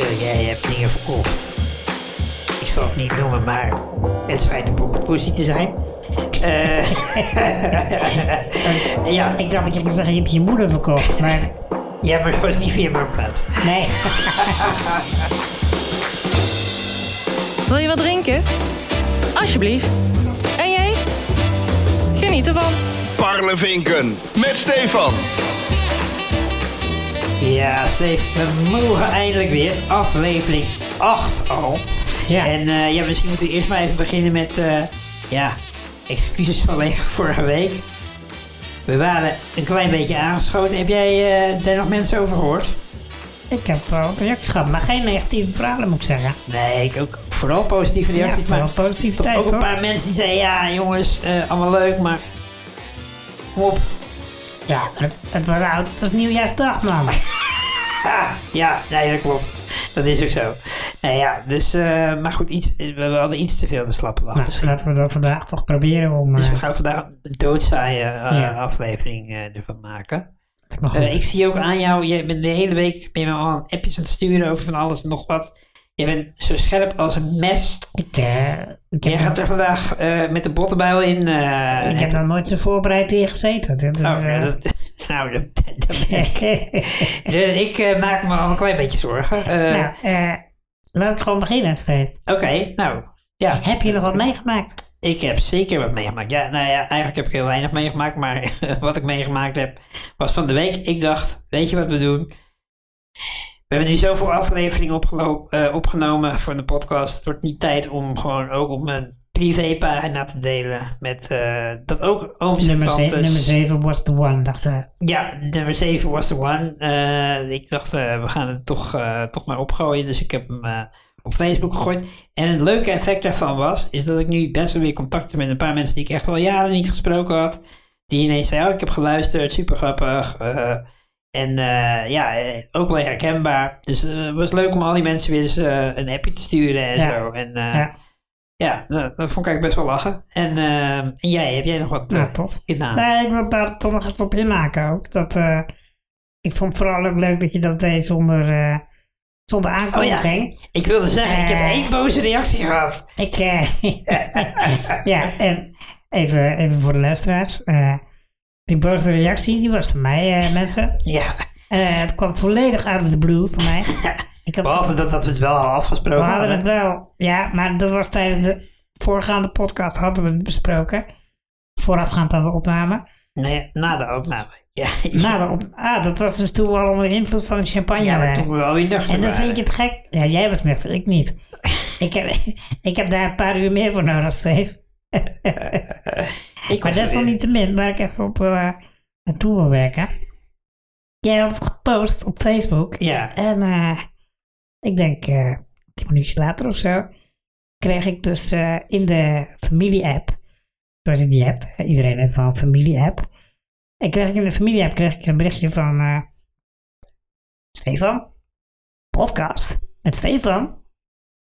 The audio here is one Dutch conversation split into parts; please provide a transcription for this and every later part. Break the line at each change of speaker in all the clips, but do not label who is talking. eh, jij hebt dingen verkocht. Ik zal het niet noemen, maar het schijnt een pocketpussy te zijn. Eh, ja,
Ik dacht dat je moest zeggen, je hebt je moeder verkocht, maar
ja, maar dat was niet via mijn plaats.
nee.
Wil je wat drinken? Alsjeblieft. En jij? Geniet ervan.
Parlevinken met Stefan.
Ja, Steve, we mogen eindelijk weer. Aflevering 8 al.
Ja.
En eh, ja, misschien moeten we eerst maar even beginnen met. eh, ja, excuses vanwege vorige week. We waren een klein beetje aangeschoten. Heb jij eh, daar nog mensen over gehoord?
Ik heb wel wat reacties gehad, maar geen negatieve verhalen moet ik zeggen.
Nee, ik ook vooral positieve
Ja,
reacties. maar
vooral positiviteit
ook een
hoor.
paar mensen die zeiden: ja, jongens, eh, allemaal leuk, maar. Kom op.
Ja, het, het was oud, het was nieuwjaarsdag man. Nou,
Ha, Ah, ja, nee, dat klopt. Dat is ook zo. Nou ja, dus, eh, maar goed, iets, we we hadden iets te veel te slappen wacht
Nou,
misschien.
laten we dat vandaag toch proberen om...
Dus
eh,
we gaan vandaag een doodzaaie eh,
Ja.
aflevering eh, ervan maken.
het nog
Eh,
goed.
ik zie ook aan jou, jij bent de hele week ben je me al appjes aan het sturen over van alles en nog wat. Je bent zo scherp als een mes.
Ik, eh, ik
Jij
heb,
gaat er vandaag eh, met de bottenbijl in. eh,
ik heb nog nooit zo voorbereid in gezeten. Dit is,
oh, nou,
eh,
dat, nou, dat, dat ben ik. Eh, ik eh, maak me al een klein beetje zorgen. Eh,
nou, eh, laat ik gewoon beginnen steeds.
Oké, nou, ja.
Heb je nog wat meegemaakt?
Ik heb zeker wat meegemaakt. Ja, nou ja, eigenlijk heb ik heel weinig meegemaakt, maar wat ik meegemaakt heb was van de week. Ik dacht, weet je wat we doen? We hebben nu zoveel afleveringen opgelo- eh, opgenomen voor de podcast. Het wordt nu tijd om gewoon ook op mijn privépagina te delen met eh, dat ook ooms en
Nummer, ze- nummer
tantes.
7 was the one, dacht ik.
Ja, nummer 7 was the one. Eh, ik dacht, eh, we gaan het toch, eh, toch maar opgooien. Dus ik heb hem eh, op Facebook gegooid. En het leuke effect daarvan was, is dat ik nu best wel weer contact heb met een paar mensen die ik echt al jaren niet gesproken had. Die ineens zeiden, oh, ik heb geluisterd, super grappig. eh, en eh, ja, eh, ook wel herkenbaar. Dus eh, het was leuk om al die mensen weer eens eh, een appje te sturen en
Ja.
zo. En eh, ja,
Ja.
nou, dat vond ik eigenlijk best wel lachen. En, eh, en jij, heb jij nog wat
Nou,
eh,
tof.
gedaan?
Nee, ik wil daar toch nog even op inhaken ook. Dat, eh, ik vond vooral ook leuk dat je dat deed zonder, eh, zonder
Oh
aankondiging.
Ik wilde zeggen, ik heb
Eh.
één boze reactie gehad.
Ik, eh, ja, en even, even voor de luisteraars. eh, die boze reactie, die was van mij, eh, mensen.
Ja,
Eh, het kwam volledig out of the blue voor mij. Ik had,
behalve dat, dat we het wel al
we
afgesproken
hadden
hadden.
het wel, ja, maar dat was tijdens de voorgaande podcast hadden we het besproken. Voorafgaand aan de opname.
Nee, na de opname. Ja,
Na de op ah, dat was dus toen we al onder invloed van de champagne
ja maar
waren.
toen we wel weer nuchter
En dan
waren.
vind je het gek. Ja, jij was nuchter, ik niet. ik, heb, ik heb daar een paar uur meer voor nodig, Steve.
Ik
Maar
was er weer.
desalniettemin, waar ik even op eh naartoe wil werken. Jij had het gepost op Facebook.
Ja,
En eh, ik denk eh tien minuutjes later of zo, kreeg ik dus eh, in de familie-app, zoals je die hebt, eh, iedereen heeft wel een familie-app. En kreeg ik in de familie-app kreeg ik een berichtje van eh, Stefan, podcast met Stefan.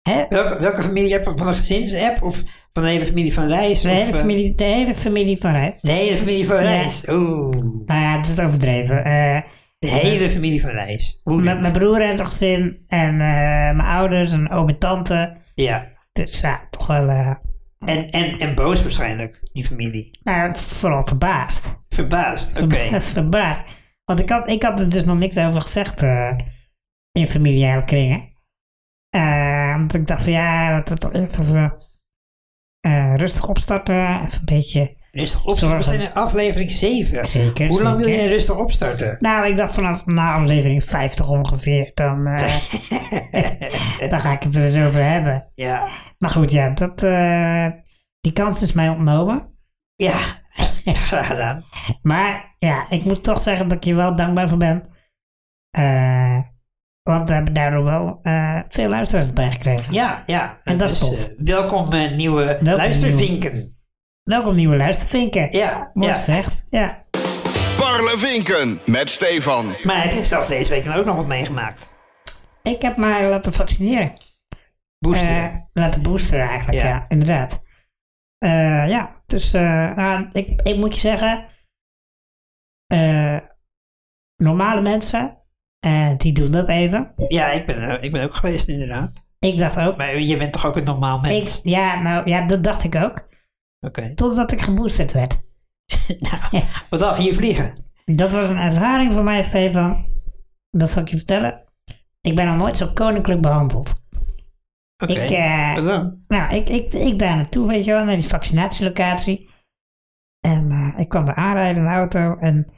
Hè?
welke, welke familie heb je? Van een gezinsapp of van de hele familie van Reis?
De,
of,
hele
eh,
familie, de hele familie van Rijs.
de hele familie van
Ja.
Reis. Oeh,
Nou ja, het is overdreven. Eh,
de hele familie van Reis. Hoe
met mijn broer en zijn gezin en eh, mijn ouders en oom en tante.
Ja,
Dus ja, toch wel... eh,
en, en, en boos waarschijnlijk, die familie.
Nou, vooral verbaasd.
Verbaasd, oké.
verbaasd. Want ik had, ik had er dus nog niks over gezegd eh, in familiale kringen. Eh, want ik dacht van ja, laten we toch eerst even eh, rustig opstarten. Even een beetje.
Rustig opstarten. We zijn in aflevering 7.
Zeker,
Hoe lang wil
zeker.
jij rustig opstarten?
Nou, ik dacht vanaf na aflevering 50 ongeveer, dan, eh, dan ga ik het er eens over hebben.
Ja.
Maar goed, ja, dat, eh, die kans is mij ontnomen.
Ja, graag gedaan.
Maar ja, ik moet toch zeggen dat ik je wel dankbaar voor ben. Eh, want we hebben daardoor wel eh, veel luisteraars bij gekregen.
Ja, ja.
En dat is tof.
eh, welkom eh, nieuwe luistervinken.
Welkom nieuwe luistervinken.
Ja,
Mooi
ja.
gezegd. Ja.
Parlevinken met Stefan.
Maar heb je zelf deze week dan ook nog wat meegemaakt?
Ik heb mij laten vaccineren.
Booster.
Eh, laten boosteren eigenlijk,
Ja.
ja. inderdaad. Eh, ja, dus eh, nou, ik, ik moet je zeggen... eh, normale mensen Eh, die doen dat even.
Ja, ik ben, eh, ik ben ook geweest inderdaad.
Ik dacht ook.
Maar je bent toch ook een normaal mens?
Ik, ja, nou ja, dat dacht ik ook.
Oké.
Totdat ik geboosterd werd.
nou, wat dacht je hier vliegen?
Dat was een ervaring voor mij, Stefan. Dat zal ik je vertellen. Ik ben nog nooit zo koninklijk behandeld.
Oké.
Ik, eh,
Wat dan?
Nou, ik, ik, ik daar naartoe, weet je wel, naar die vaccinatielocatie. En eh, ik kwam daar aanrijden in de auto en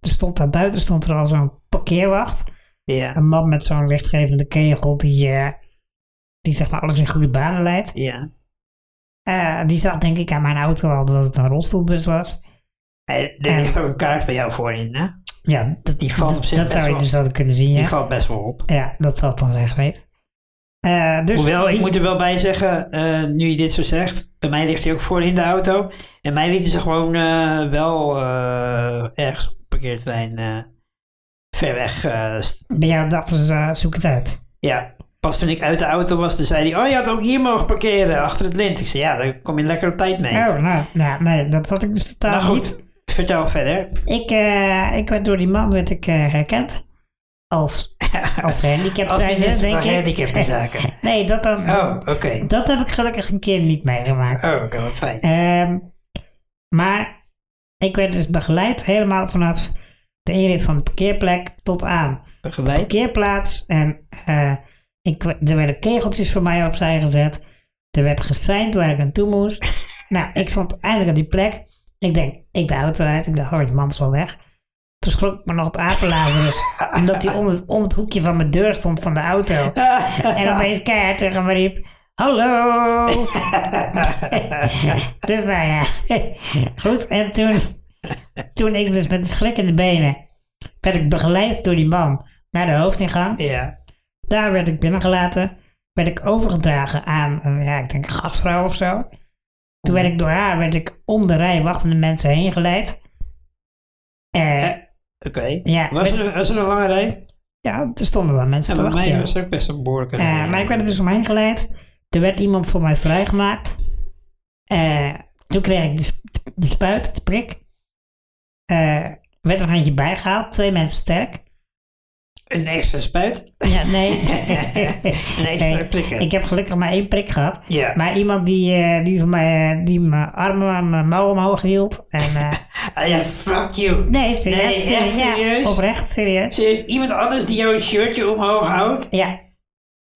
er stond daar buiten stond er al zo'n parkeerwacht.
Ja.
Een man met zo'n lichtgevende kegel die, eh, die zeg maar alles in goede banen leidt.
Ja.
Eh, die zag denk ik aan mijn auto al dat het een rolstoelbus was.
Eh, Er ligt ook een kaart bij jou voorin, hè?
Ja, dat,
Die valt op zich
dat
best
zou je
wel-
dus hadden kunnen zien,
Die
ja.
valt best wel op.
Ja, dat zal het dan zijn geweest. Eh, dus
Hoewel, ik
die-
moet er wel bij zeggen, eh, nu je dit zo zegt, bij mij ligt hij ook voor in de auto. En mij lieten ze gewoon eh, wel eh, ergens op een parkeerterrein eh, ver weg. eh, st-
Bij jou dachten ze, eh, zoek het uit.
ja, pas toen ik uit de auto was, toen zei hij, oh je had ook hier mogen parkeren, achter het lint. Ik zei, ja, daar kom je lekker op tijd mee.
Oh, nou, nou, nee, dat had ik dus totaal
maar goed,
niet.
vertel verder.
Ik, eh, ik werd door die man werd ik, eh, herkend. Als, als gehandicapt
Als
zijn, eh,
minister
denk
van
ik.
gehandicaptenzaken.
nee, dat, dan,
Oh, oké.
dat heb ik gelukkig een keer niet meegemaakt.
Oh, oké, wat fijn.
Ehm, maar ik werd dus begeleid helemaal vanaf de inrit van de parkeerplek tot aan
Begeleid.
parkeerplaats. En eh, ik, w- er werden kegeltjes voor mij opzij gezet. Er werd geseind waar ik naartoe moest. nou, ik stond eindelijk op die plek. Ik denk, ik de auto uit. Ik dacht, oh, die man is wel weg. Toen schrok ik me nog het apenlazerus. omdat hij om het, om het hoekje van mijn deur stond van de auto. en opeens keihard tegen me riep... Hallo! dus nou ja, goed. En toen, toen ik dus met de schrik in de benen... werd ik begeleid door die man naar de hoofdingang.
Ja,
Daar werd ik binnengelaten. Werd ik overgedragen aan, eh, ja, ik denk een gastvrouw of zo. Toen werd ik door haar, werd ik om de rij wachtende mensen heen geleid. Eh,
oké.
Ja,
was,
met-
er, was er een lange rij?
ja, er stonden wel mensen
Ja,
te
bij
wachten.
mij
ja.
was er ook best een behoorlijke
Eh,
rij.
maar ik werd er dus omheen geleid. Er werd iemand voor mij vrijgemaakt. Eh, toen kreeg ik de, sp- de spuit, de prik. Eh werd er een handje bijgehaald, twee mensen sterk.
Een extra spuit?
Ja, nee.
Een extra prikken.
Ik heb gelukkig maar één prik gehad.
Ja.
Maar iemand die, eh, die, van mij, eh, die mijn armen aan mijn mouw omhoog hield. En, eh,
Ah ja, fuck you.
nee, serieus.
Nee, echt
ja,
serieus?
oprecht, serieus.
Serieus, iemand anders die jouw shirtje omhoog houdt?
Ja.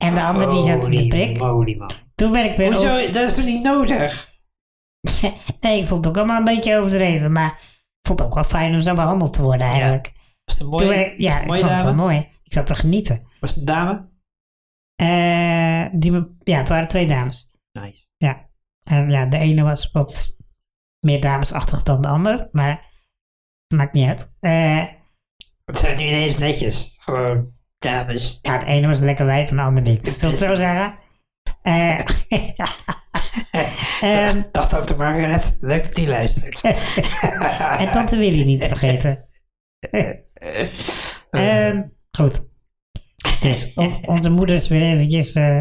En de ander die zat in de
Holy
prik.
moly, Oh, man.
Toen werd ik weer
Hoezo?
over-
Dat is toch niet nodig?
Nee, ik vond het ook allemaal een beetje overdreven. Maar ik vond het ook wel fijn om zo behandeld te worden eigenlijk.
Was het een
Toen
mooie,
werd- ja,
was het een
ik
mooie
vond het wel
dame?
mooi. Ik zat te genieten.
Was het een dame?
Eh, die me, ja, het waren twee dames.
Nice.
Ja. En ja, de ene was wat meer damesachtig dan de ander, maar maakt niet uit. Eh,
Het zijn nu ineens netjes. Gewoon dames.
ja, de ene was lekker wijf en de ander niet. Zullen we het zo zeggen? Eh, ehm,
Dacht tante Margaret. Leuk dat die luistert.
en tante Willy niet vergeten.
Eh,
Ehm, goed. Dus on- onze moeder is weer eventjes eh,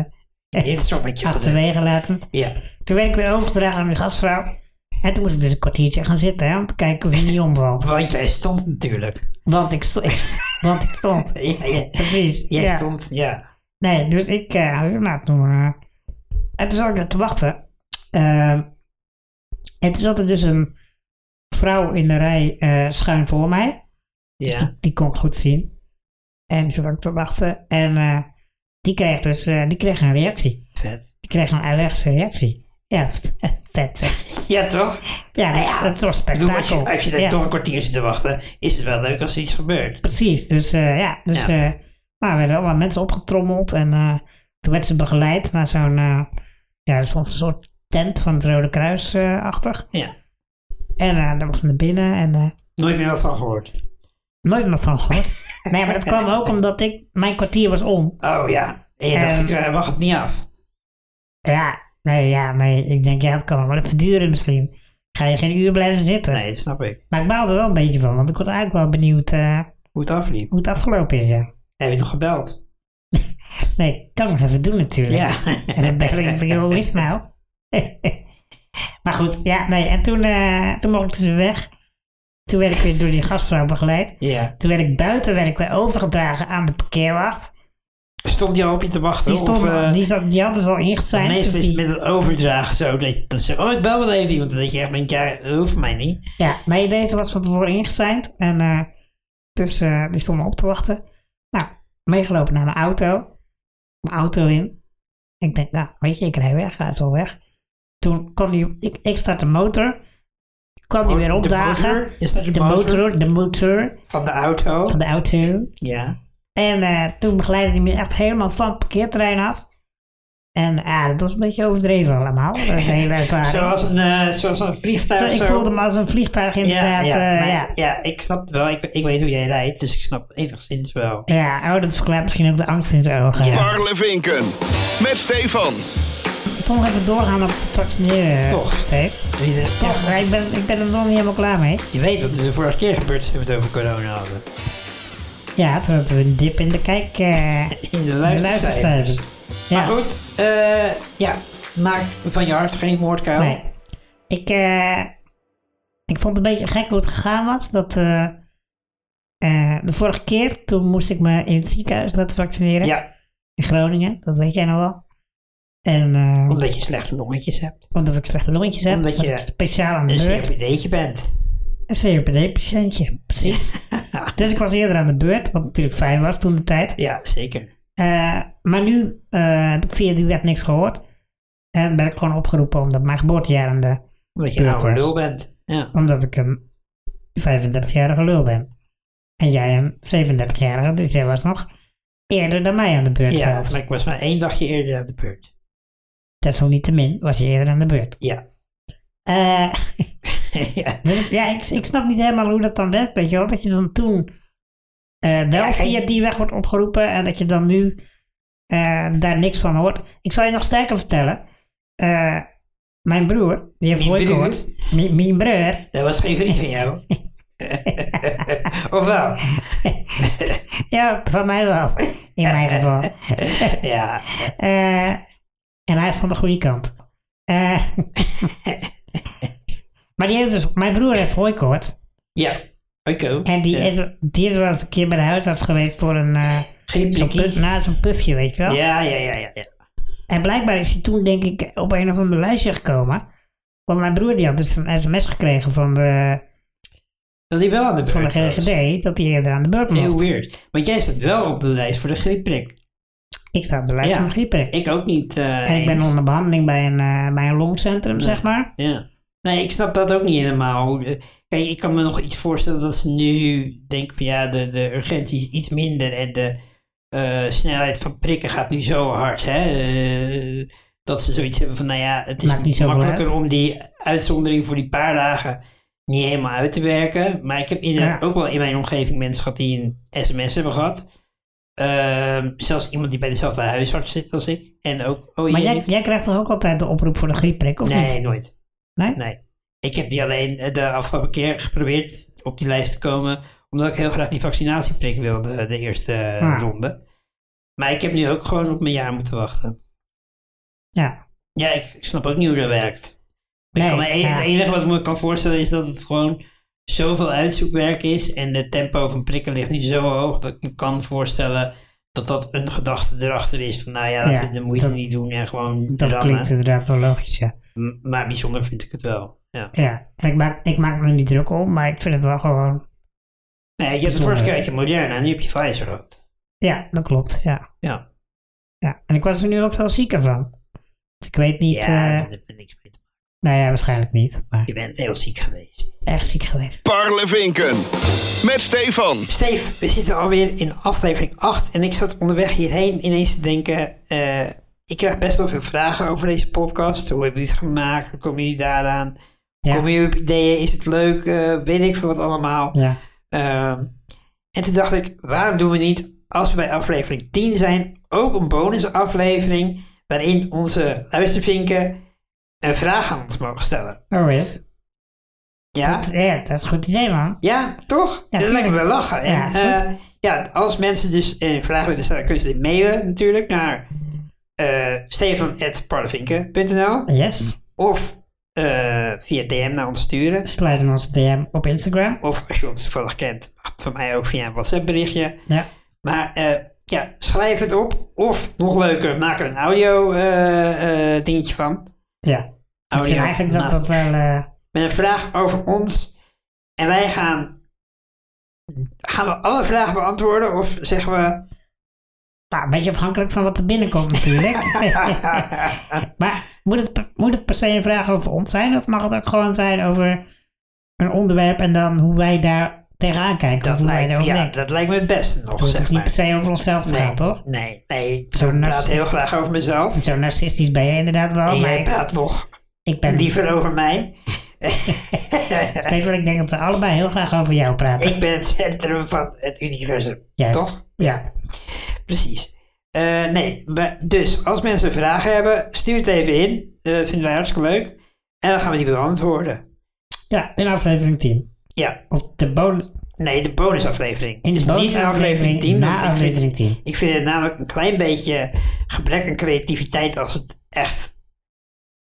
In het sommetje gezet.
achterwege laten.
Ja.
Toen werd ik weer overgedragen aan de gastvrouw. En toen moest ik dus een kwartiertje gaan zitten, hè, om te kijken of hij niet omvalt.
Want jij stond natuurlijk.
Want ik, sto- want ik stond.
Ja, ja.
Precies.
Jij
ja.
stond, ja.
Nee, dus ik eh, had het nou toen. eh, en toen zat ik daar te wachten. Ehm, en toen zat er dus een vrouw in de rij eh, schuin voor mij. Dus
Ja.
die, die kon ik goed zien. En die zat ook te wachten. En eh, die kreeg dus eh, die kreeg een reactie.
Vet.
Die kreeg een allergische reactie. Ja, vet. zeg.
Ja, toch?
Ja, dat was
Nou Ik bedoel, als je,
spektakel.
als je daar
Ja.
toch een kwartier zit te wachten, is het wel leuk als er iets gebeurt.
Precies, dus eh, ja. Dus,
Ja.
eh nou, er werden allemaal mensen opgetrommeld en eh, toen werd ze begeleid naar zo'n, eh, ja, er stond een soort tent van het Rode Kruis-achtig.
Ja.
en eh, daar was ze naar binnen en eh,
Nooit meer wat van gehoord.
nooit meer van gehoord. nee, maar dat kwam ook omdat ik, mijn kwartier was om.
Oh ja. En je dacht,
Ehm.
ik eh, wacht het niet af.
Ja, nee, ja, nee, ik denk, ja, het kan nog wel even duren misschien. Ga je geen uur blijven zitten.
Nee, dat snap ik.
Maar ik baalde er wel een beetje van, want ik was eigenlijk wel benieuwd eh,
Hoe het afliep.
hoe het afgelopen is, ja.
Heb je toch gebeld?
Nee, ik kan nog even doen natuurlijk.
Ja.
En dan bel ik van, joh, hoe is het nou? maar goed, ja, nee. En toen, eh, toen mocht ik dus weer weg. Toen werd ik weer door die gastvrouw begeleid.
Ja.
Toen werd ik buiten werd ik weer overgedragen aan de parkeerwacht.
Stond die al op je te wachten?
Die, stond,
of, eh,
die, zat, die had dus al ingezijnd. dus
Meestal is
die-
het met het overdragen zo. Dat, je- dat ze zeggen, oh, ik bel wel even iemand. Dan denk je echt, denk, ja, dat hoeft mij niet.
Ja, nee, deze was van tevoren ingezijnd. En eh, dus eh, die stond me op te wachten. Nou, meegelopen naar mijn auto. Mijn auto in. Ik denk, nou, weet je, ik rij weg. Hij is wel weg. Toen kwam die, ik, ik start de motor. Kwam die weer
Oh, De
opdagen.
motor, is dat je
De motor, de motor
Van de auto.
van de auto.
Ja.
En eh, toen begeleidde hij me echt helemaal van het parkeerterrein af. En ah, dat was een beetje overdreven allemaal. Dat hele ervaring.
Zoals een, eh, zoals een
Ah, Zo,
vliegtuig.
ik
zo.
voelde me als een vliegtuig
ja,
inderdaad.
ja,
eh,
maar-
ja.
ja, ik snap het wel. Ik, ik weet hoe jij rijdt, dus ik snap het enigszins wel.
Ja, oh, dat verklaart misschien ook de angst in zijn ogen.
Parlevinken. Met Stefan.
Toch even doorgaan op het vaccineren.
Toch.
Steef.
Je, denkt,
Toch,
toch,
maar ik ben, ik ben er nog niet helemaal klaar mee.
je weet wat er de vorige keer gebeurd is toen we het over corona hadden.
Ja, toen hadden we een dip in de kijk. eh
In de
luistercijfers.
luistercijfers.
Ja,
Maar goed, eh, ja, maak van je hart geen moordkuil.
nee. Ik, eh, ik vond het een beetje gek hoe het gegaan was. Dat, eh, eh, de vorige keer, toen moest ik me in het ziekenhuis laten vaccineren.
Ja,
In Groningen, dat weet jij nog wel. En eh,
omdat je slechte longetjes hebt.
omdat ik slechte longetjes heb,
Omdat
was
je-
ik speciaal aan de
Een
beurt.
COPD'tje bent.
Een COPD-patiëntje, precies. dus ik was eerder aan de beurt, wat natuurlijk fijn was toen de tijd.
Ja, zeker.
Eh, maar nu eh, heb ik via die wet niks gehoord. En ben ik gewoon opgeroepen omdat mijn geboortejaar aan de...
Omdat je nou een oude
Beurtwaarts.
lul bent. Ja.
Omdat ik een 35-jarige lul ben. En jij een 37-jarige, dus jij was nog eerder dan mij aan de beurt
Ja,
zelfs.
want ik was maar één dagje eerder aan de beurt.
Desalniettemin was je eerder aan de beurt.
Ja.
Eh,
ja.
dus ik- ja, ik, ik snap niet helemaal hoe dat dan werkt, weet je wel. Dat je dan toen eh, wel
Ja, geen-
via die weg wordt opgeroepen en dat je dan nu eh, daar niks van hoort. Ik zal je nog sterker vertellen. Eh, mijn broer, die heeft
Mijn
ooit
broer?
gehoord. Mi- Mijn broer.
Dat was geen vriend van jou. of wel?
Ja, van mij wel. In mijn geval.
Ja.
Eh, en hij is van de goede kant. Eh, maar die heeft dus, mijn broer heeft hooikoorts.
Ja. Oké.
En die,
Ja.
is, die is wel eens een keer bij de huisarts geweest voor een... eh, Zo'n
Griepprikkie.
puf, nou, zo'n pufje, weet je wel.
Ja, ja, ja, ja. ja.
En blijkbaar is hij toen, denk ik, op een of ander lijstje gekomen. Want mijn broer die had dus een sms gekregen van de,
Dat die wel aan de beurt
van de
was.
GGD dat hij eerder aan de beurt mocht.
Heel weird. Want jij staat wel op de lijst voor de griepprik.
Ik sta op de lijst
Ja.
van de griepprik.
Ik ook niet. eh,
en ik ben
eens.
onder behandeling bij een, eh, bij een longcentrum, zeg maar.
Ja. Nee, ik snap dat ook niet helemaal. Hoe de- Kijk, ik kan me nog iets voorstellen dat ze nu denken van ja, de, de urgentie is iets minder en de eh, snelheid van prikken gaat nu zo hard. Hè? eh, dat ze zoiets hebben van nou ja, het
Maakt niet
is
zoveel
makkelijker
uit.
om die uitzondering voor die paar dagen niet helemaal uit te werken. Maar ik heb inderdaad
Ja.
ook wel in mijn omgeving mensen gehad die een sms hebben gehad. Ehm, zelfs iemand die bij dezelfde huisarts zit als ik. En ook, oh
Maar
jee,
jij, jij krijgt toch ook altijd de oproep voor de griepprik, of
Nee,
niet?
nooit.
Nee?
Ik heb die alleen eh, de afgelopen keer geprobeerd op die lijst te komen, omdat ik heel graag die vaccinatieprik wilde, de eerste eh,
Ah.
ronde. Maar ik heb nu ook gewoon op mijn jaar moeten wachten.
Ja.
Ja, ik, ik snap ook niet hoe dat werkt. Ik
Nee,
kan me e-
ja.
Het enige wat ik me kan voorstellen is dat het gewoon zoveel uitzoekwerk is en de tempo van prikken ligt nu zo hoog dat ik me kan voorstellen dat dat een gedachte erachter is van nou ja, laten
Ja,
we de moeite
dat-
niet doen en gewoon
Dat klinkt
rammen.
inderdaad wel logisch, ja.
M- Maar bijzonder vind ik het wel, ja.
ja. En ik, maak, ik maak me er niet druk om, maar ik vind het wel gewoon...
Nee, je hebt de
Bijzonder.
vorige keer had je Moderna en nu heb je Pfizer gehad.
Ja, dat klopt, ja.
Ja.
ja. En ik was er nu ook wel zieker van. Dus ik weet niet...
Ja,
eh,
dat heeft er niks mee te maken.
Nou ja, waarschijnlijk niet. Maar
Je bent heel ziek geweest.
erg ziek geweest.
Parlevinken. Met Stefan.
Steve, we zitten alweer in aflevering 8 en ik zat onderweg hierheen ineens te denken... eh, ik krijg best wel veel vragen over deze podcast. Hoe hebben jullie het gemaakt? Hoe komen jullie daaraan? Hoe
Ja.
komen jullie op ideeën? Is het leuk? Eh, weet ik veel wat allemaal.
Ja.
Ehm, en toen dacht ik, waarom doen we niet, als we bij aflevering 10 zijn, ook een bonusaflevering waarin onze luistervinken een vraag aan ons mogen stellen.
Oh, is.
Ja,
Ja, dat is een goed idee, man.
ja toch?
Ja,
dat lijkt me wel
tuurlijk.
lachen.
Ja,
en,
is goed.
eh, ja, als mensen dus eh, vragen willen stellen, kunnen ze dit mailen natuurlijk naar eh stefan.parlevinken.nl
Yes.
of eh, via DM naar ons sturen.
Sluit in onze DM op Instagram.
Of als je ons toevallig kent, mag het van mij ook via een WhatsApp berichtje.
Ja.
Maar eh, ja, schrijf het op. Of nog leuker, maak er een audio eh, eh, dingetje van.
ja. Ik
Audio.
vind eigenlijk dat
Nou,
dat wel... eh,
Met een vraag over ons. En wij gaan... Gaan we alle vragen beantwoorden? Of zeggen we...
nou, een beetje afhankelijk van wat er binnenkomt natuurlijk. maar moet het, per- moet het per se een vraag over ons zijn? Of mag het ook gewoon zijn over een onderwerp en dan hoe wij daar tegenaan kijken? of
Dat
hoe wij
lijkt,
erover
ja,
denken?
dat lijkt me het beste nog,
Dus het
zeg
hoeft niet per
maar.
se over onszelf te gaan, toch?
nee, nee. Ik
Zo'n
praat
narcist-
heel graag over mezelf.
Zo narcistisch ben je inderdaad wel.
en
maar
jij
ik-
praat nog
ik ben
liever over mij.
Steven, ik denk dat we allebei heel graag over jou praten.
Ik ben het centrum van het universum.
Juist.
Toch?
Ja.
Precies. Eh, nee, maar- dus als mensen vragen hebben, stuur het even in. Eh vinden wij hartstikke leuk. En dan gaan we die beantwoorden.
ja, in aflevering 10.
Ja,
Of de bonus.
nee, de bonusaflevering.
In de
Dus niet in
bonusaflevering
want
na
ik vind-
aflevering 10.
Ik vind het namelijk een klein beetje gebrek aan creativiteit als het echt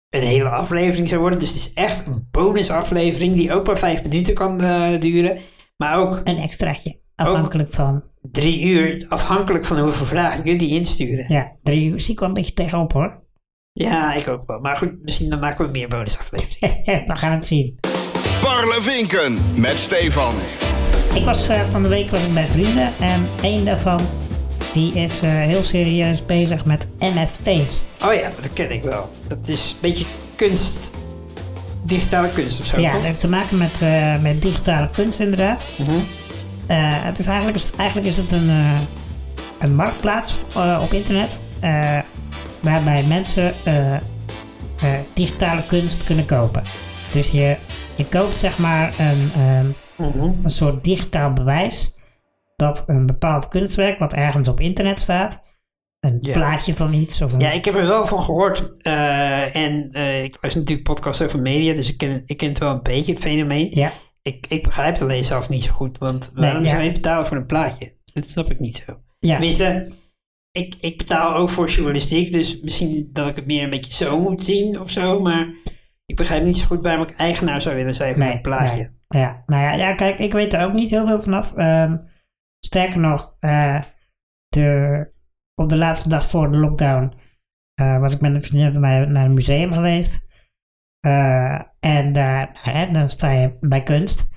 een hele aflevering zou worden. Dus het is echt een bonusaflevering die ook maar vijf minuten kan eh, duren. Maar ook
Een extraatje. Afhankelijk
Oh.
van.
drie uur, afhankelijk van hoeveel vragen jullie insturen.
Ja, drie uur. Zie ik wel een beetje tegenop hoor.
Ja, ik ook wel. Maar goed, misschien dan maken we meer bonusafleveringen.
We gaan het zien.
Parlevinken met Stefan.
Ik was eh, van de week was ik bij vrienden. En één daarvan. Die is eh, heel serieus bezig met NFT's.
Oh ja, dat ken ik wel. Dat is een beetje kunst, digitale kunst of zo.
Ja,
toch?
het heeft te maken met, eh, met digitale kunst inderdaad.
Mhm.
Eh, het is eigenlijk, eigenlijk is het een, eh, een marktplaats eh, op internet eh, waarbij mensen eh, eh, digitale kunst kunnen kopen. Dus je, je koopt zeg maar een, ehm,
Mhm.
een soort digitaal bewijs dat een bepaald kunstwerk wat ergens op internet staat, een
Ja.
plaatje van iets of een...
Ja, ik heb er wel van gehoord. eh, en eh, ik luister natuurlijk podcasts over media, dus ik ken, ik ken het wel een beetje, het fenomeen.
Ja.
Ik, ik begrijp het alleen zelf niet zo goed, want
Nee,
waarom
ja.
zou je betalen voor een plaatje? Dat snap ik niet zo.
Ja.
Tenminste, ik, ik betaal ook voor journalistiek, dus misschien dat ik het meer een beetje zo moet zien of zo, maar ik begrijp niet zo goed waarom ik eigenaar zou willen zijn van een plaatje.
nee. Ja, nou ja, ja, kijk, ik weet er ook niet heel veel vanaf. Ehm sterker nog, eh, de, op de laatste dag voor de lockdown eh, was ik met een vriendin van mij naar een museum geweest. Eh, en daar, hè, dan sta je bij kunst.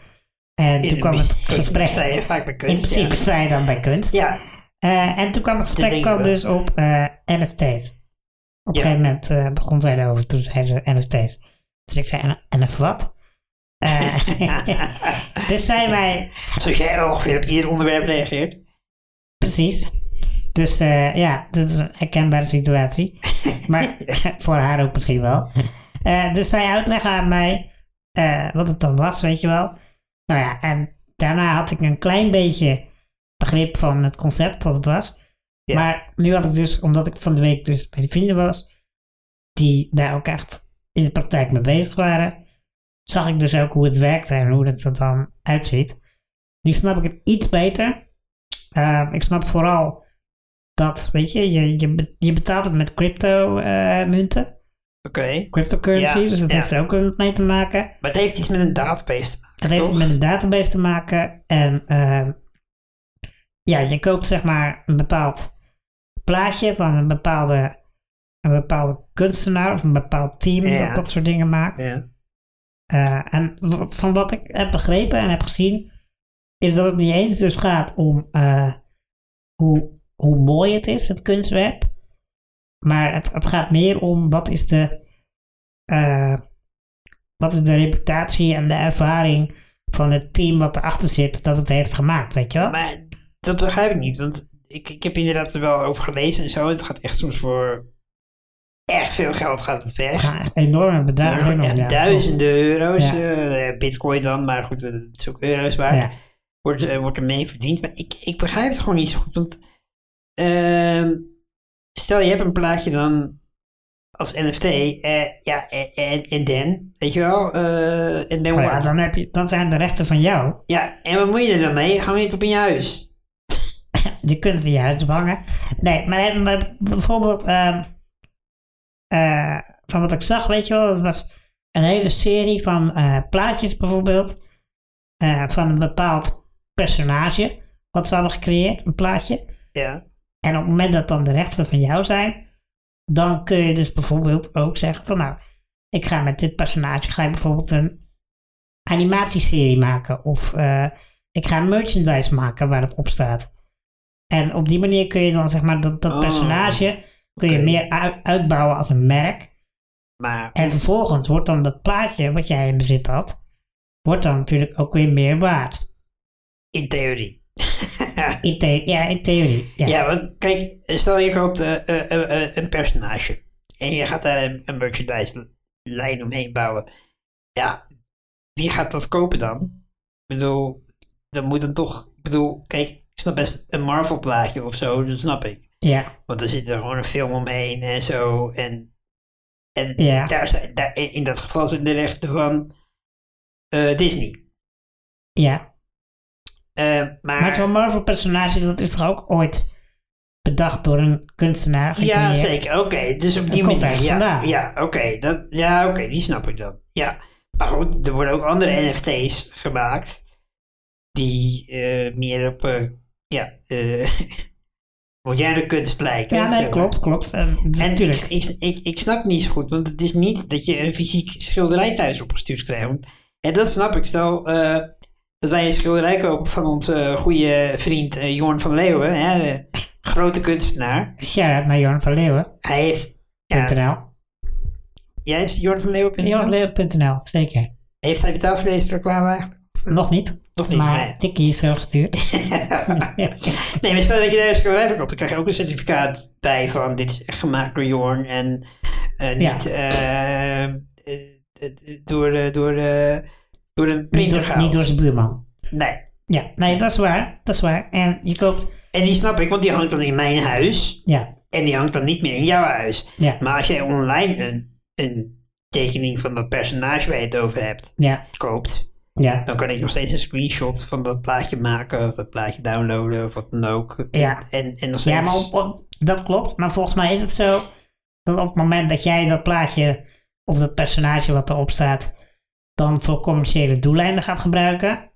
En
In
toen
een
kwam het
beetje-
gesprek.
sta je vaak bij
in
kunst.
principe
ja.
sta je dan bij kunst.
Ja,
Eh, en toen kwam het gesprek
denk ik
kwam
wel.
dus op eh, NFT's. Op een
Ja.
gegeven moment eh, begon zij erover, toen zei ze NFT's. Dus ik zei, "En- NF wat? Eh, dus zijn wij,
zoals jij ongeveer op ieder onderwerp reageert.
precies. Dus eh, ja, dat is een herkenbare situatie. Maar voor haar ook misschien wel. Eh, dus zij uitlegde aan mij eh, wat het dan was, weet je wel. Nou ja, en daarna had ik een klein beetje begrip van het concept wat het was.
Ja.
Maar nu had ik dus, omdat ik van de week dus bij de vrienden was, die daar ook echt in de praktijk mee bezig waren, zag ik dus ook hoe het werkte en hoe het er dan uitziet. Nu snap ik het iets beter. Eh, ik snap vooral dat, weet je, je, je, be- je betaalt het met crypto-munten,
Oké,
cryptocurrency,
Ja,
dus dat
ja.
heeft er ook mee te maken.
maar het heeft iets met een database te maken,
Het heeft
toch?
met een database te maken. En ehm, ja, je koopt zeg maar een bepaald plaatje van een bepaalde, een bepaalde kunstenaar of een bepaald team
Ja.
dat dat soort dingen maakt.
Ja.
Eh, en w- van wat ik heb begrepen en heb gezien, is dat het niet eens dus gaat om eh, hoe, hoe mooi het is, het kunstwerk. Maar het, het gaat meer om wat is de, eh, wat is de reputatie en de ervaring van het team wat erachter zit dat het heeft gemaakt, weet je wel?
Maar dat begrijp ik niet, want ik, ik heb inderdaad er wel over gelezen en zo. Het gaat echt soms voor echt veel geld gaat het weg.
Er gaan echt enorme bedragen in om,
Echt
ja.
duizenden euro's,
Ja.
eh, bitcoin dan, maar goed, eh, het is ook euro's waard.
Ja.
wordt, eh, wordt ermee verdiend. Maar ik, ik begrijp het gewoon niet zo goed. Want ehm, stel je hebt een plaatje dan als NFT. eh, ja, en- en en dan, weet je wel? eh, En dan
Maar Oh ja,
wat?
dan, heb je, dan zijn de rechten van jou.
Ja, en wat moet je er dan mee? Gewoon niet op in je huis.
Je kunt het in je huis hangen. Nee, maar, eh, maar bijvoorbeeld, ehm, eh, van wat ik zag, weet je wel, dat was een hele serie van eh, plaatjes bijvoorbeeld. eh, van een bepaald personage. Wat ze hadden gecreëerd, een plaatje.
Ja.
En op het moment dat dan de rechten van jou zijn, dan kun je dus bijvoorbeeld ook zeggen van nou, ik ga met dit personage, ga je bijvoorbeeld een animatieserie maken of eh, ik ga merchandise maken waar het op staat. En op die manier kun je dan zeg maar dat, dat
Oh,
personage kun je
oké.
meer uit- uitbouwen als een merk.
Maar
En vervolgens wordt dan dat plaatje wat jij in bezit had, wordt dan natuurlijk ook weer meer waard.
in theorie.
In the- ja, in theorie. Ja.
Ja, want kijk, stel je koopt eh, eh, eh, eh, een personage. En je gaat daar een, een merchandise lijn omheen bouwen. Ja, wie gaat dat kopen dan? Ik bedoel, dan moet dan toch... Ik bedoel, kijk, ik snap best een Marvel plaatje of zo, dat snap ik.
ja.
Want er zit er gewoon een film omheen en zo. En, en
Ja.
daar zijn, daar, in in dat geval zijn de rechten van eh, Disney.
ja.
Eh,
Maar zo'n Marvel-personage, dat is toch ook ooit bedacht door een kunstenaar?
Ja,
gecreëerd?
zeker. Oké, dus op die
komt
manier.
ergens
Ja,
vandaan.
ja oké, dat- ja, oké, die snap ik dan. Ja. Maar goed, er worden ook andere NFT's gemaakt. Die eh, meer op, eh, ja, eh moderne kunst lijken.
Ja, nee,
zeg maar.
klopt, klopt. En,
En ik,
natuurlijk.
ik, ik, ik snap niet zo goed, want het is niet dat je een fysiek schilderij thuis opgestuurd krijgt. Want- En dat snap ik. Stel eh, dat wij een schilderij kopen van onze goede vriend eh, Jorn van Leeuwen, hè, de grote kunstenaar.
Shout-out naar Jorn van Leeuwen.nl.
Hij heeft Jij is Jorn van Leeuwen.nl?
Jornvanleeuwen.nl, zeker.
Heeft hij betaald voor deze reclame eigenlijk?
Nog niet.
Nog niet,
maar
nee.
Tikkie is zo gestuurd.
Nee, maar stel dat je daar een schilderij van koopt, dan krijg je ook een certificaat bij van dit is echt gemaakt door Jorn en eh,
Ja.
niet eh, eh, eh, door, eh, door, eh, door een printer
niet, door, niet door
gehaald.
zijn buurman.
Nee.
Ja, nee, dat is waar. Dat is waar. En je koopt...
En die snap ik, want die hangt dan in mijn huis
Ja,
en die hangt dan niet meer in jouw huis.
ja,
Maar als jij online een, een tekening van dat personage waar je het over hebt
ja,
koopt,
ja.
dan kan ik nog steeds een screenshot van dat plaatje maken, of dat plaatje downloaden, of wat dan ook.
Ja.
En, en nog steeds...
Ja, maar op- op- dat klopt. Maar volgens mij is het zo dat op het moment dat jij dat plaatje of dat personage wat erop staat dan voor commerciële doeleinden gaat gebruiken,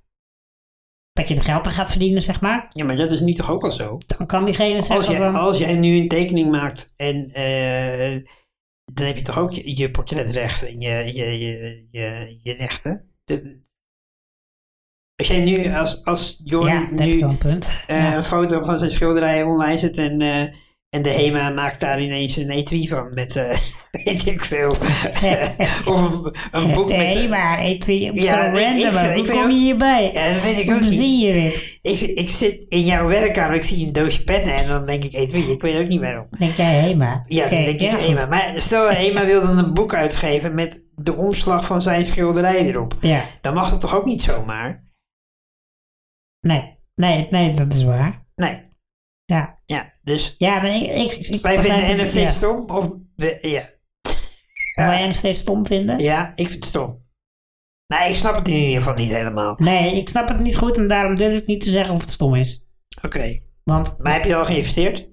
dat je er geld aan gaat verdienen, zeg maar,
Ja, maar dat is nu toch ook al zo?
dan kan diegene
Als oh,
zeggen
jij,
van...
als jij nu een tekening maakt en eh, dan heb je toch ook je, je portretrecht en je, je, je, je, je rechten? Dat- als jij nu als, als Jorn
ja, dat heb je
nu
wel een punt.
eh,
Ja.
een foto van zijn schilderij online zet en, eh, en de HEMA maakt daar ineens een etui van met eh, weet ik veel. of een, een boek met...
Nee, maar
Ja,
E2, zo
ik- ik vind- ik
random, hoe
weet
kom
ook-
je hierbij?
Ja, dat weet ik ook
Hoe
niet.
zie je dit?
Ik, ik zit in jouw werkkamer, ik zie een doosje pennen en dan denk ik, etui, ik weet ook niet waarom.
Denk jij, hé maar.
Ja,
Oké,
dat denk ik
ja,
Ema. Maar stel, Ema wil dan een boek uitgeven met de omslag van zijn schilderij erop.
Ja,
Dan mag dat toch ook niet zomaar?
nee, nee, nee, dat is waar.
Nee.
Ja,
Ja, dus
ja maar ik... ik, ik
wij
begrijp
vinden
het,
NFT's
ja.
stom? Of, we- ja.
Wil jij nog steeds stom vinden?
ja, ik vind het stom. Nee, ik snap het in ieder geval niet helemaal. Oké.
Nee, ik snap het niet goed en daarom durf ik niet te zeggen of het stom is. Want
Maar heb je al geïnvesteerd?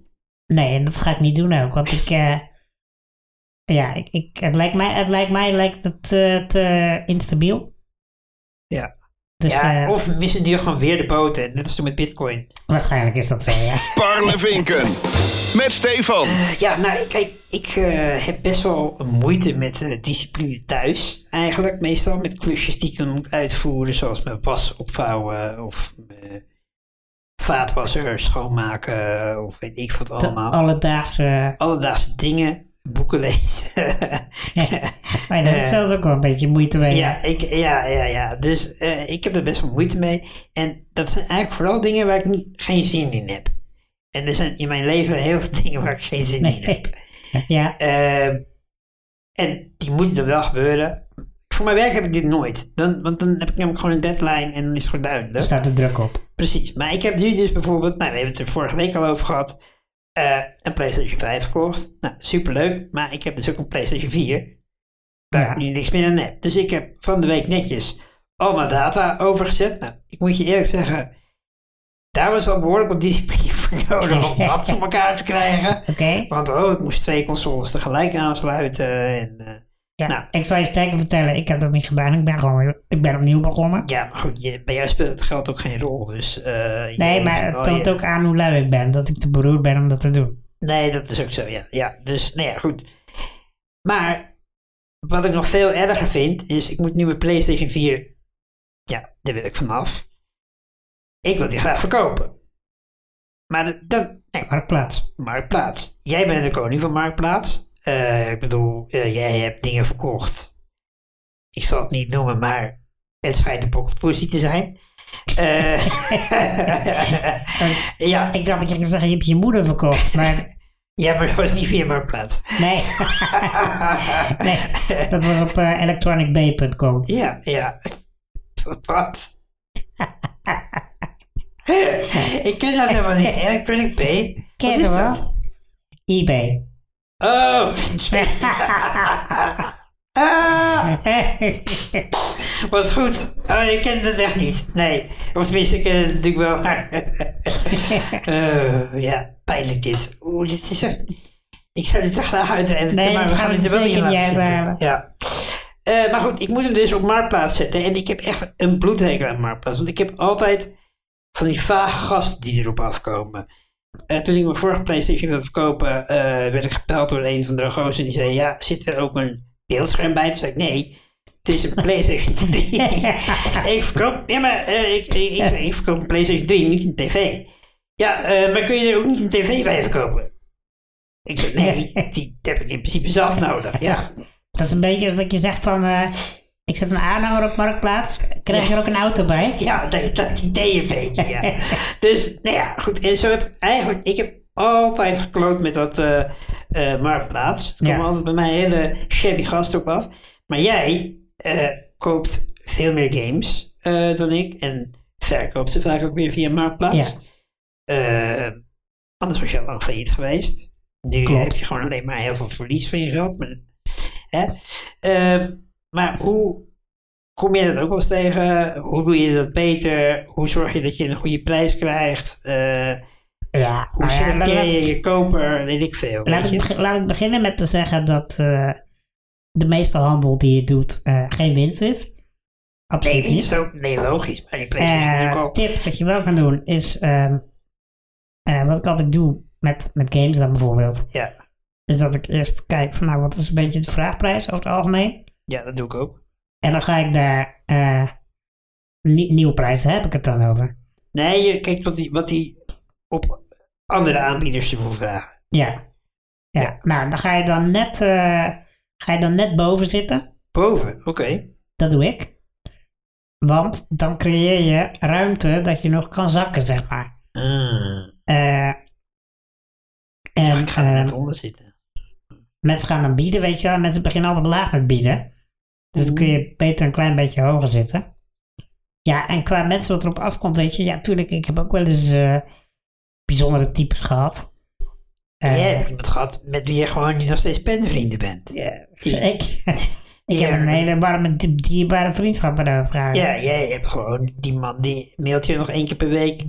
nee, en dat ga ik niet doen ook. Want ik, eh, ja, ik, ik, het lijkt mij, het lijkt mij lijkt het eh, te instabiel.
Ja.
Dus
ja,
eh,
of missen die gewoon weer de boot en net als toen met bitcoin.
waarschijnlijk is dat zo, ja.
Parlevinken. Met Stefan.
Ja, nou kijk, ik eh, heb best wel moeite met eh, discipline thuis. Eigenlijk meestal met klusjes die ik dan moet uitvoeren, zoals mijn was opvouwen of eh, vaatwasser schoonmaken eh, of weet ik wat
De
allemaal.
alledaagse.
Alledaagse dingen, boeken lezen.
Maar daar heb ik
Eh,
zelf ook wel een beetje moeite mee.
ja, ik, ja, ja, ja. Dus eh, ik heb er best wel moeite mee. En dat zijn eigenlijk vooral dingen waar ik niet, geen zin in heb. En er zijn in mijn leven heel veel dingen waar ik geen zin in heb.
Ja,
Ehm, en die moeten er wel gebeuren. Voor mijn werk heb ik dit nooit. Dan, want dan heb ik namelijk gewoon een deadline en dan is het gewoon
er
duidelijk.
staat er druk op.
Precies. Maar ik heb nu dus bijvoorbeeld, nou we hebben het er vorige week al over gehad, eh, een PlayStation 5 gekocht. Nou, superleuk. Maar ik heb dus ook een PlayStation 4. Waar
Ja.
ik nu niks meer aan heb. Dus ik heb van de week netjes al mijn data overgezet. Nou, ik moet je eerlijk zeggen, daar was al behoorlijk wat discipline voor nodig om dat voor elkaar te krijgen.
Oké?
Want oh, ik moest twee consoles tegelijk aansluiten. En, eh,
Ja,
Nou.
ik zal je sterker vertellen, ik heb dat niet gedaan. Ik ben gewoon weer- ik ben opnieuw begonnen.
Ja, maar goed, je, bij jou speelt het geld ook geen rol. Dus, eh, je
Nee,
denkt
maar
van,
het
oh,
toont
je-
ook aan hoe lui ik ben. Dat ik te beroerd ben om dat te doen.
Nee, dat is ook zo, ja. ja dus, nou ja, goed. Maar, wat ik nog veel erger vind, is ik moet nu mijn PlayStation 4... Ja, daar wil ik vanaf. Ik wil die graag verkopen. Maar dat- dat... Nee,
Maar plaats.
Marktplaats. Jij bent de koning van Marktplaats. Eh, ik bedoel, eh, jij hebt dingen verkocht. Ik zal het niet noemen, maar het schijnt een pocketpussy te zijn. Eh, ja,
Ik dacht dat je ging zeggen, je hebt je moeder verkocht. Maar
ja, maar dat was dus niet via Marktplaats.
nee. nee, dat was op eh, electronicbay.com.
Ja, ja. Wat? ik ken dat helemaal niet. Electronic Pay?
Ken
Wat
je
is
wel?
dat?
eBay.
Oh, ah. Wat goed. Oh, ik ken het echt niet. Nee. Of tenminste, ik ken het natuurlijk wel. maar- Eh, ja, pijnlijk dit. Oeh, dit is echt... Ik zou dit er graag uit editen,
Nee,
maar we gaan het er wel
zeker
in laten
niet
zitten.
uithalen.
Ja. Eh, maar goed, ik moet hem dus op Marktplaats zetten. En ik heb echt een bloedhekel aan Marktplaats. Want ik heb altijd van die vaag gasten die erop afkomen. Eh, toen ik mijn vorige PlayStation wilde verkopen, eh, werd ik gebeld door een van de gozer. En die zei: Ja, zit er ook een beeldscherm bij? Toen zei ik: Nee, het is een PlayStation 3. ik verkoop, ja, maar eh, ik, ik, ik, zei, ik verkoop een PlayStation 3, niet een TV. Ja, eh, maar kun je er ook niet een TV bij verkopen? Ik zei: Nee, die heb ik in principe zelf nodig. Ja.
Dat is een beetje dat je zegt van, eh, ik zet een aanhouder op Marktplaats, krijg je er ook een auto bij?
Ja, dat, dat idee een beetje, ja. dus, nou ja, goed. En zo heb ik eigenlijk... Ik heb altijd gekloot met dat eh, eh, Marktplaats. Er komen
Ja.
altijd bij mij hele shabby gasten op af. Maar jij eh, koopt veel meer games eh, dan ik. En verkoopt ze vaak ook weer via Marktplaats.
Ja.
Eh, anders was je al lang failliet geweest. Nu
Klopt.
heb je gewoon alleen maar heel veel verlies van je geld. Maar, hè? Ehm, maar hoe kom je dat ook wel eens tegen? Hoe doe je dat beter? Hoe zorg je dat je een goede prijs krijgt? Eh,
Ja,
hoe
nou ja, laat-
selecteer je
laat-
je koper? Weet ik veel.
Laat
weet
ik,
je?
beg- laat ik beginnen met te zeggen dat eh, de meeste handel die je doet eh, geen winst is.
Nee,
Absoluut
dat is
niet.
ook nee, logisch. Maar die prijs is natuurlijk
Eh
ook...
tip dat je wel kan doen is, ehm, eh, wat ik altijd doe met, met games dan bijvoorbeeld,
Ja,
is dat ik eerst kijk van nou wat is een beetje de vraagprijs over het algemeen.
ja, dat doe ik ook.
En dan ga ik daar eh, nie- nieuwe prijzen, heb ik het dan over.
Nee, je kijkt wat die, wat die op andere aanbieders te vragen.
Ja. ja. Nou, dan ga je dan net, eh, ga je dan net boven zitten.
Boven, oké.
Dat doe ik. Want dan creëer je ruimte dat je nog kan zakken, zeg maar.
Hmm.
Eh, en
Ik ga er
eh,
net onder zitten.
mensen gaan dan bieden, weet je wel. Mensen beginnen altijd laag met bieden. Dus dan kun
Mm-hmm.
je beter een klein beetje hoger zitten. Ja, en qua mensen wat erop afkomt, weet je. Ja, tuurlijk, ik heb ook wel eens eh, bijzondere types gehad. Eh,
Jij hebt iemand gehad met wie je gewoon nu nog steeds penvrienden bent.
Ja,
Die-
ik, ik heb een hele warme, die- dierbare vriendschap met haar vrouw.
Ja, jij hebt gewoon die man die mailt je nog één keer per week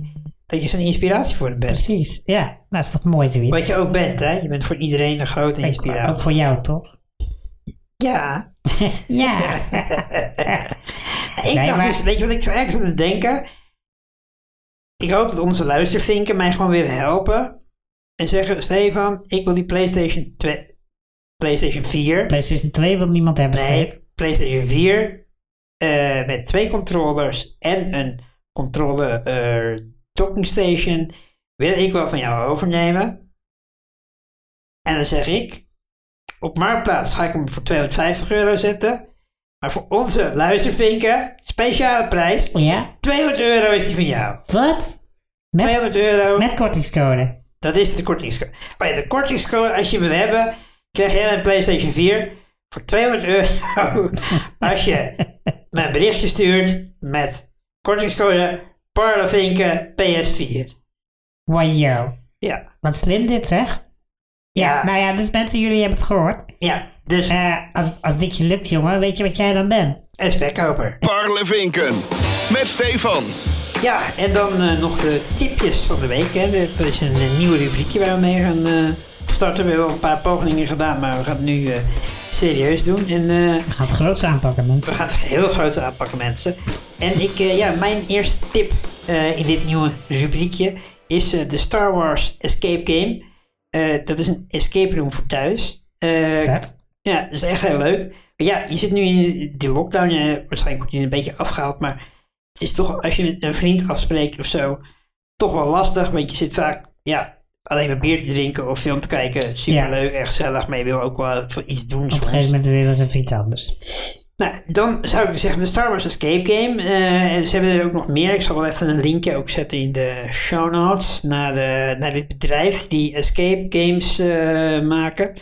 dat je zo'n inspiratie voor hem bent.
Precies, ja. Dat is toch mooi zoiets.
Wat je ook bent, hè? Je bent voor iedereen een grote
Ik- Ook
inspiratie.
voor jou, toch?
Ja.
Ja.
Ik
Nee,
dacht
maar-
dus, weet je wat ik ergens aan het denken? Ik hoop dat onze luistervinken mij gewoon weer helpen. En zeggen, Stefan, ik wil die PlayStation 2, PlayStation 4.
PlayStation 2 wil niemand hebben, Steve.
Nee, PlayStation 4 eh, met twee controllers en een controller eh, docking station wil ik wel van jou overnemen. En dan zeg ik, op Marktplaats ga ik hem voor 250 euro zetten. Maar voor onze luistervinken, speciale prijs,
Ja?
200 euro is die van jou.
Wat? Met,
200 euro,
met kortingscode.
dat is de kortingscode. Maar ja, de kortingscode, als je hem wil hebben, krijg jij een PlayStation 4 voor 200 euro. als je me een berichtje stuurt met kortingscode Parlevinken PS4.
Wajo.
Ja,
Wat slim dit, zeg. Ja,
Ja.
nou ja, dus mensen, jullie hebben het gehoord.
ja. Dus
Eh, als, als dit je lukt, jongen, weet je wat jij dan bent?
een spekkoper.
Parlevinken. Met Stefan.
Ja, en dan eh, nog de tipjes van de week. Hè. Er is een, eh, nieuw rubriekje waar we mee gaan eh, starten. We hebben al een paar pogingen gedaan, maar we gaan nu eh, serieus doen. En eh,
We gaan het groots aanpakken,
we
mensen.
gaan het heel groot aanpakken, mensen. En ik, eh, ja, mijn eerste tip eh, in dit nieuwe rubriekje is eh, de Star Wars Escape Game. Eh, dat is een escape room voor thuis. Eh,
Vet.
ja, dat is echt heel leuk. Maar ja, je zit nu in die lockdown. eh, waarschijnlijk wordt je een beetje afgehaald. Maar het is toch, als je met een vriend afspreekt of zo, toch wel lastig. Want je zit vaak ja, alleen maar bier te drinken of film te kijken. Superleuk, echt gezellig. Maar je wil ook wel iets doen
Op een gegeven
soms.
moment weer eens even iets anders.
Nou, dan zou ik zeggen de Star Wars Escape Game. Eh, en ze hebben er ook nog meer. Ik zal wel even een linkje ook zetten in de show notes naar, de, naar dit bedrijf die escape games eh, maken.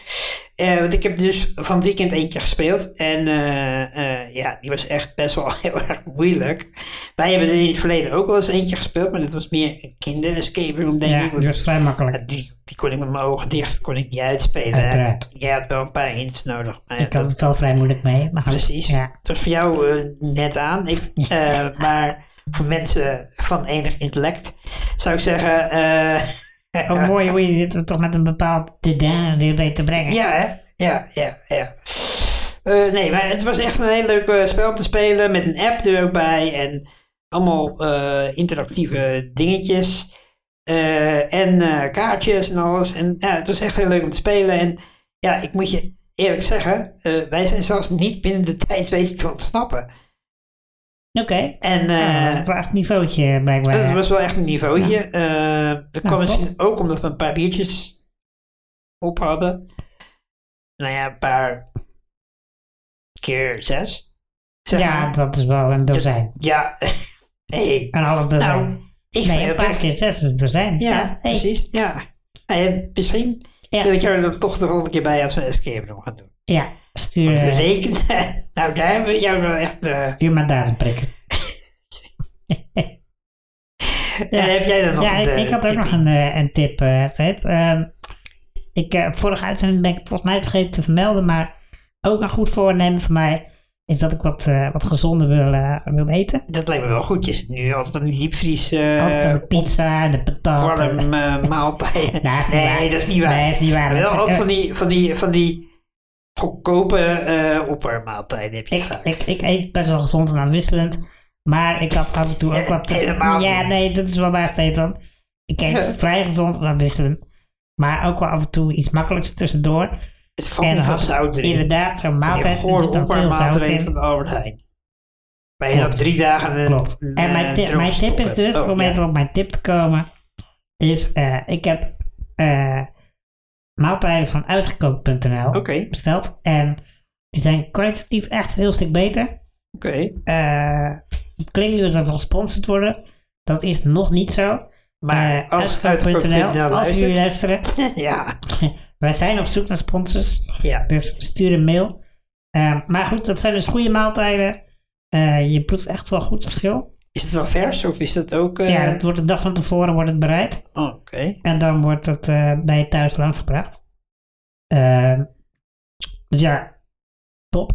Eh, want ik heb dus van het weekend eentje gespeeld. En eh, eh, ja, die was echt best wel heel erg moeilijk. Wij hebben er in het verleden ook wel eens eentje gespeeld. Maar dat was meer een kinder-escape room, denk
Ja,
ik.
dat
Want
was vrij
ja,
makkelijk.
die, die kon ik met mijn ogen dicht, kon ik niet uitspelen.
Uiteraard.
Jij had wel een paar hints nodig. maar ja,
Ik had het wel vrij moeilijk mee. Maar goed,
Precies.
Ja.
Dat is voor jou eh, net aan. Ik, eh, maar voor mensen van enig intellect zou ik zeggen. eh,
Oh, mooi hoe je dit toch met een bepaald dédain weer weet te brengen.
ja, hè? Ja, ja, ja. Eh, nee, maar het was echt een heel leuk eh, spel om te spelen. Met een app er ook bij. En allemaal eh, interactieve dingetjes. Eh, en eh, kaartjes en alles. En ja, het was echt heel leuk om te spelen. En ja, ik moet je eerlijk zeggen. eh, wij zijn zelfs niet binnen de tijd weten te ontsnappen.
Oké.
En eh,
Nou, dat was wel echt een niveautje blijkbaar.
dat was wel echt een niveautje. Eh, dat kwam
top.
misschien ook omdat we een paar biertjes op hadden. Nou ja, een paar keer zes. Zeg
ja,
maar.
dat is wel een dozijn.
Ja, hey.
Een half dozijn.
Nou, ik vind
nee, een
het
paar
best.
keer zes is een dozijn.
Ja,
hey.
precies. Ja. En misschien
Ja.
wil ik jou er dan toch de volgende keer bij als we een escape room gaan doen.
Ja, stuur,
Want we
eh,
rekenen. Nou, daar hebben we jou wel echt... eh,
stuur maar datum prikken.
eh, heb jij dan nog
Ja,
een,
ik,
eh,
ik had ook
tipje?
nog een, eh, een tip. eh, Fred. Ehm, ik, eh, vorige uitzending ben ik het volgens mij vergeten te vermelden, maar ook een goed voornemen van mij is dat ik wat, eh, wat gezonder wil, eh, wil eten.
Dat lijkt me wel goed. Je zit nu altijd aan die diepvries... eh,
Altijd aan de pizza en de patat.
warm
en-
eh, maaltijden.
Nee, is niet
nee,
waar.
dat is niet waar.
Nee, is niet waar. Eh,
Wel
Dat-
altijd van die, van die, van die goedkope eh oppermaaltijden heb je
Ik,
vaak.
ik, ik eet best wel gezond en uitwisselend. Maar ik had af en toe ook wat...
Helemaal
ja,
niet.
nee, dat is wel waar, Stefan. Ik eet vrij gezond en uitwisselend. Maar ook wel af en toe iets makkelijks tussendoor.
het
En
fucking
dan
van
had ik
zout erin.
Inderdaad, zo'n
Van die
maaltijd. Er
gore
zit dan veel zout
oppermaaltijden van
in.
de Albert Heijn. Waar je
Klopt.
dan drie dagen een,
Klopt.
een,
En
eh,
mijn, tip,
droog
mijn tip is
stoppen.
dus,
Oh,
om
ja.
even op mijn tip te komen, is eh, ik heb eh, maaltijden van uitgekookt.nl
Oké.
besteld. En die zijn kwalitatief echt een heel stuk beter.
Oké.
Eh, het klinkt nu alsof we gesponsord worden. Dat is nog niet zo.
Maar
Eh,
als uitgekookt.nl
als jullie luisteren.
ja.
wij zijn op zoek naar sponsors.
Ja.
Dus stuur een mail. Eh, maar goed, dat zijn dus goede maaltijden. Eh, je proeft echt wel goed verschil.
Is het wel vers of is dat ook... eh,
ja, het wordt de dag van tevoren wordt het bereid.
oh, Oké.
En dan wordt het eh, bij je thuis langsgebracht. Eh, dus ja, top.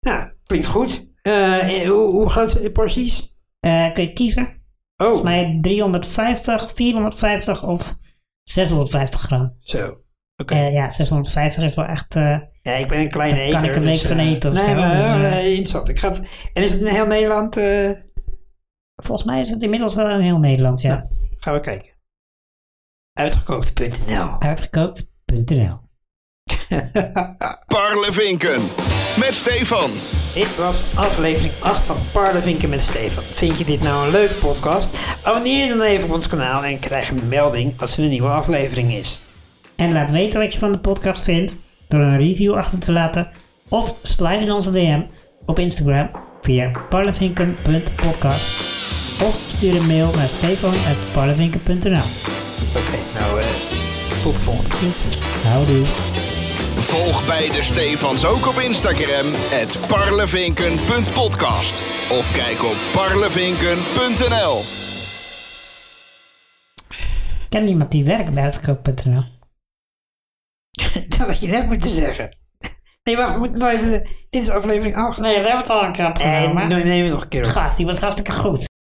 Nou, klinkt goed. Eh, eh, hoe, hoe groot zijn de porties?
Eh, kun je kiezen.
Oh,
Volgens mij 350, 450 of 650 gram.
zo. Oké.
Eh, ja, 650 is wel echt. eh,
Ja, ik ben een kleine
Daar
eter.
kan ik een week
dus,
van
eh,
eten of
nee,
zo,
Maar,
dus, eh.
eh, interessant. Ik ga het- en is het in heel Nederland? eh,
volgens mij is het inmiddels wel in heel Nederland, ja.
gaan we kijken. Uitgekookt.nl
Uitgekookt.nl.
Parlevinken. Met Stefan.
Dit was aflevering 8 van Parlevinken met Stefan. Vind je dit nou een leuke podcast? Abonneer je dan even op ons kanaal en krijg een melding als er een nieuwe aflevering is.
En laat weten wat je van de podcast vindt door een review achter te laten of slide in onze DM op Instagram via parlevinken.podcast of stuur een mail naar stefan.parlevinken.nl.
Oké, nou, eh tot de volgende keer.
Houdoe.
Volg beide Stefans ook op Instagram. Het parlevinken.podcast. Of kijk op parlevinken.nl.
Ken iemand die werkt bij uitgekookt.nl?
Dat had je net moeten zeggen. Nee, wacht, we moeten nog even... Dit is aflevering 8.
Nee, we hebben het al een krap
En
genomen.
neem het nog een keer op.
Gast, die was hartstikke goed.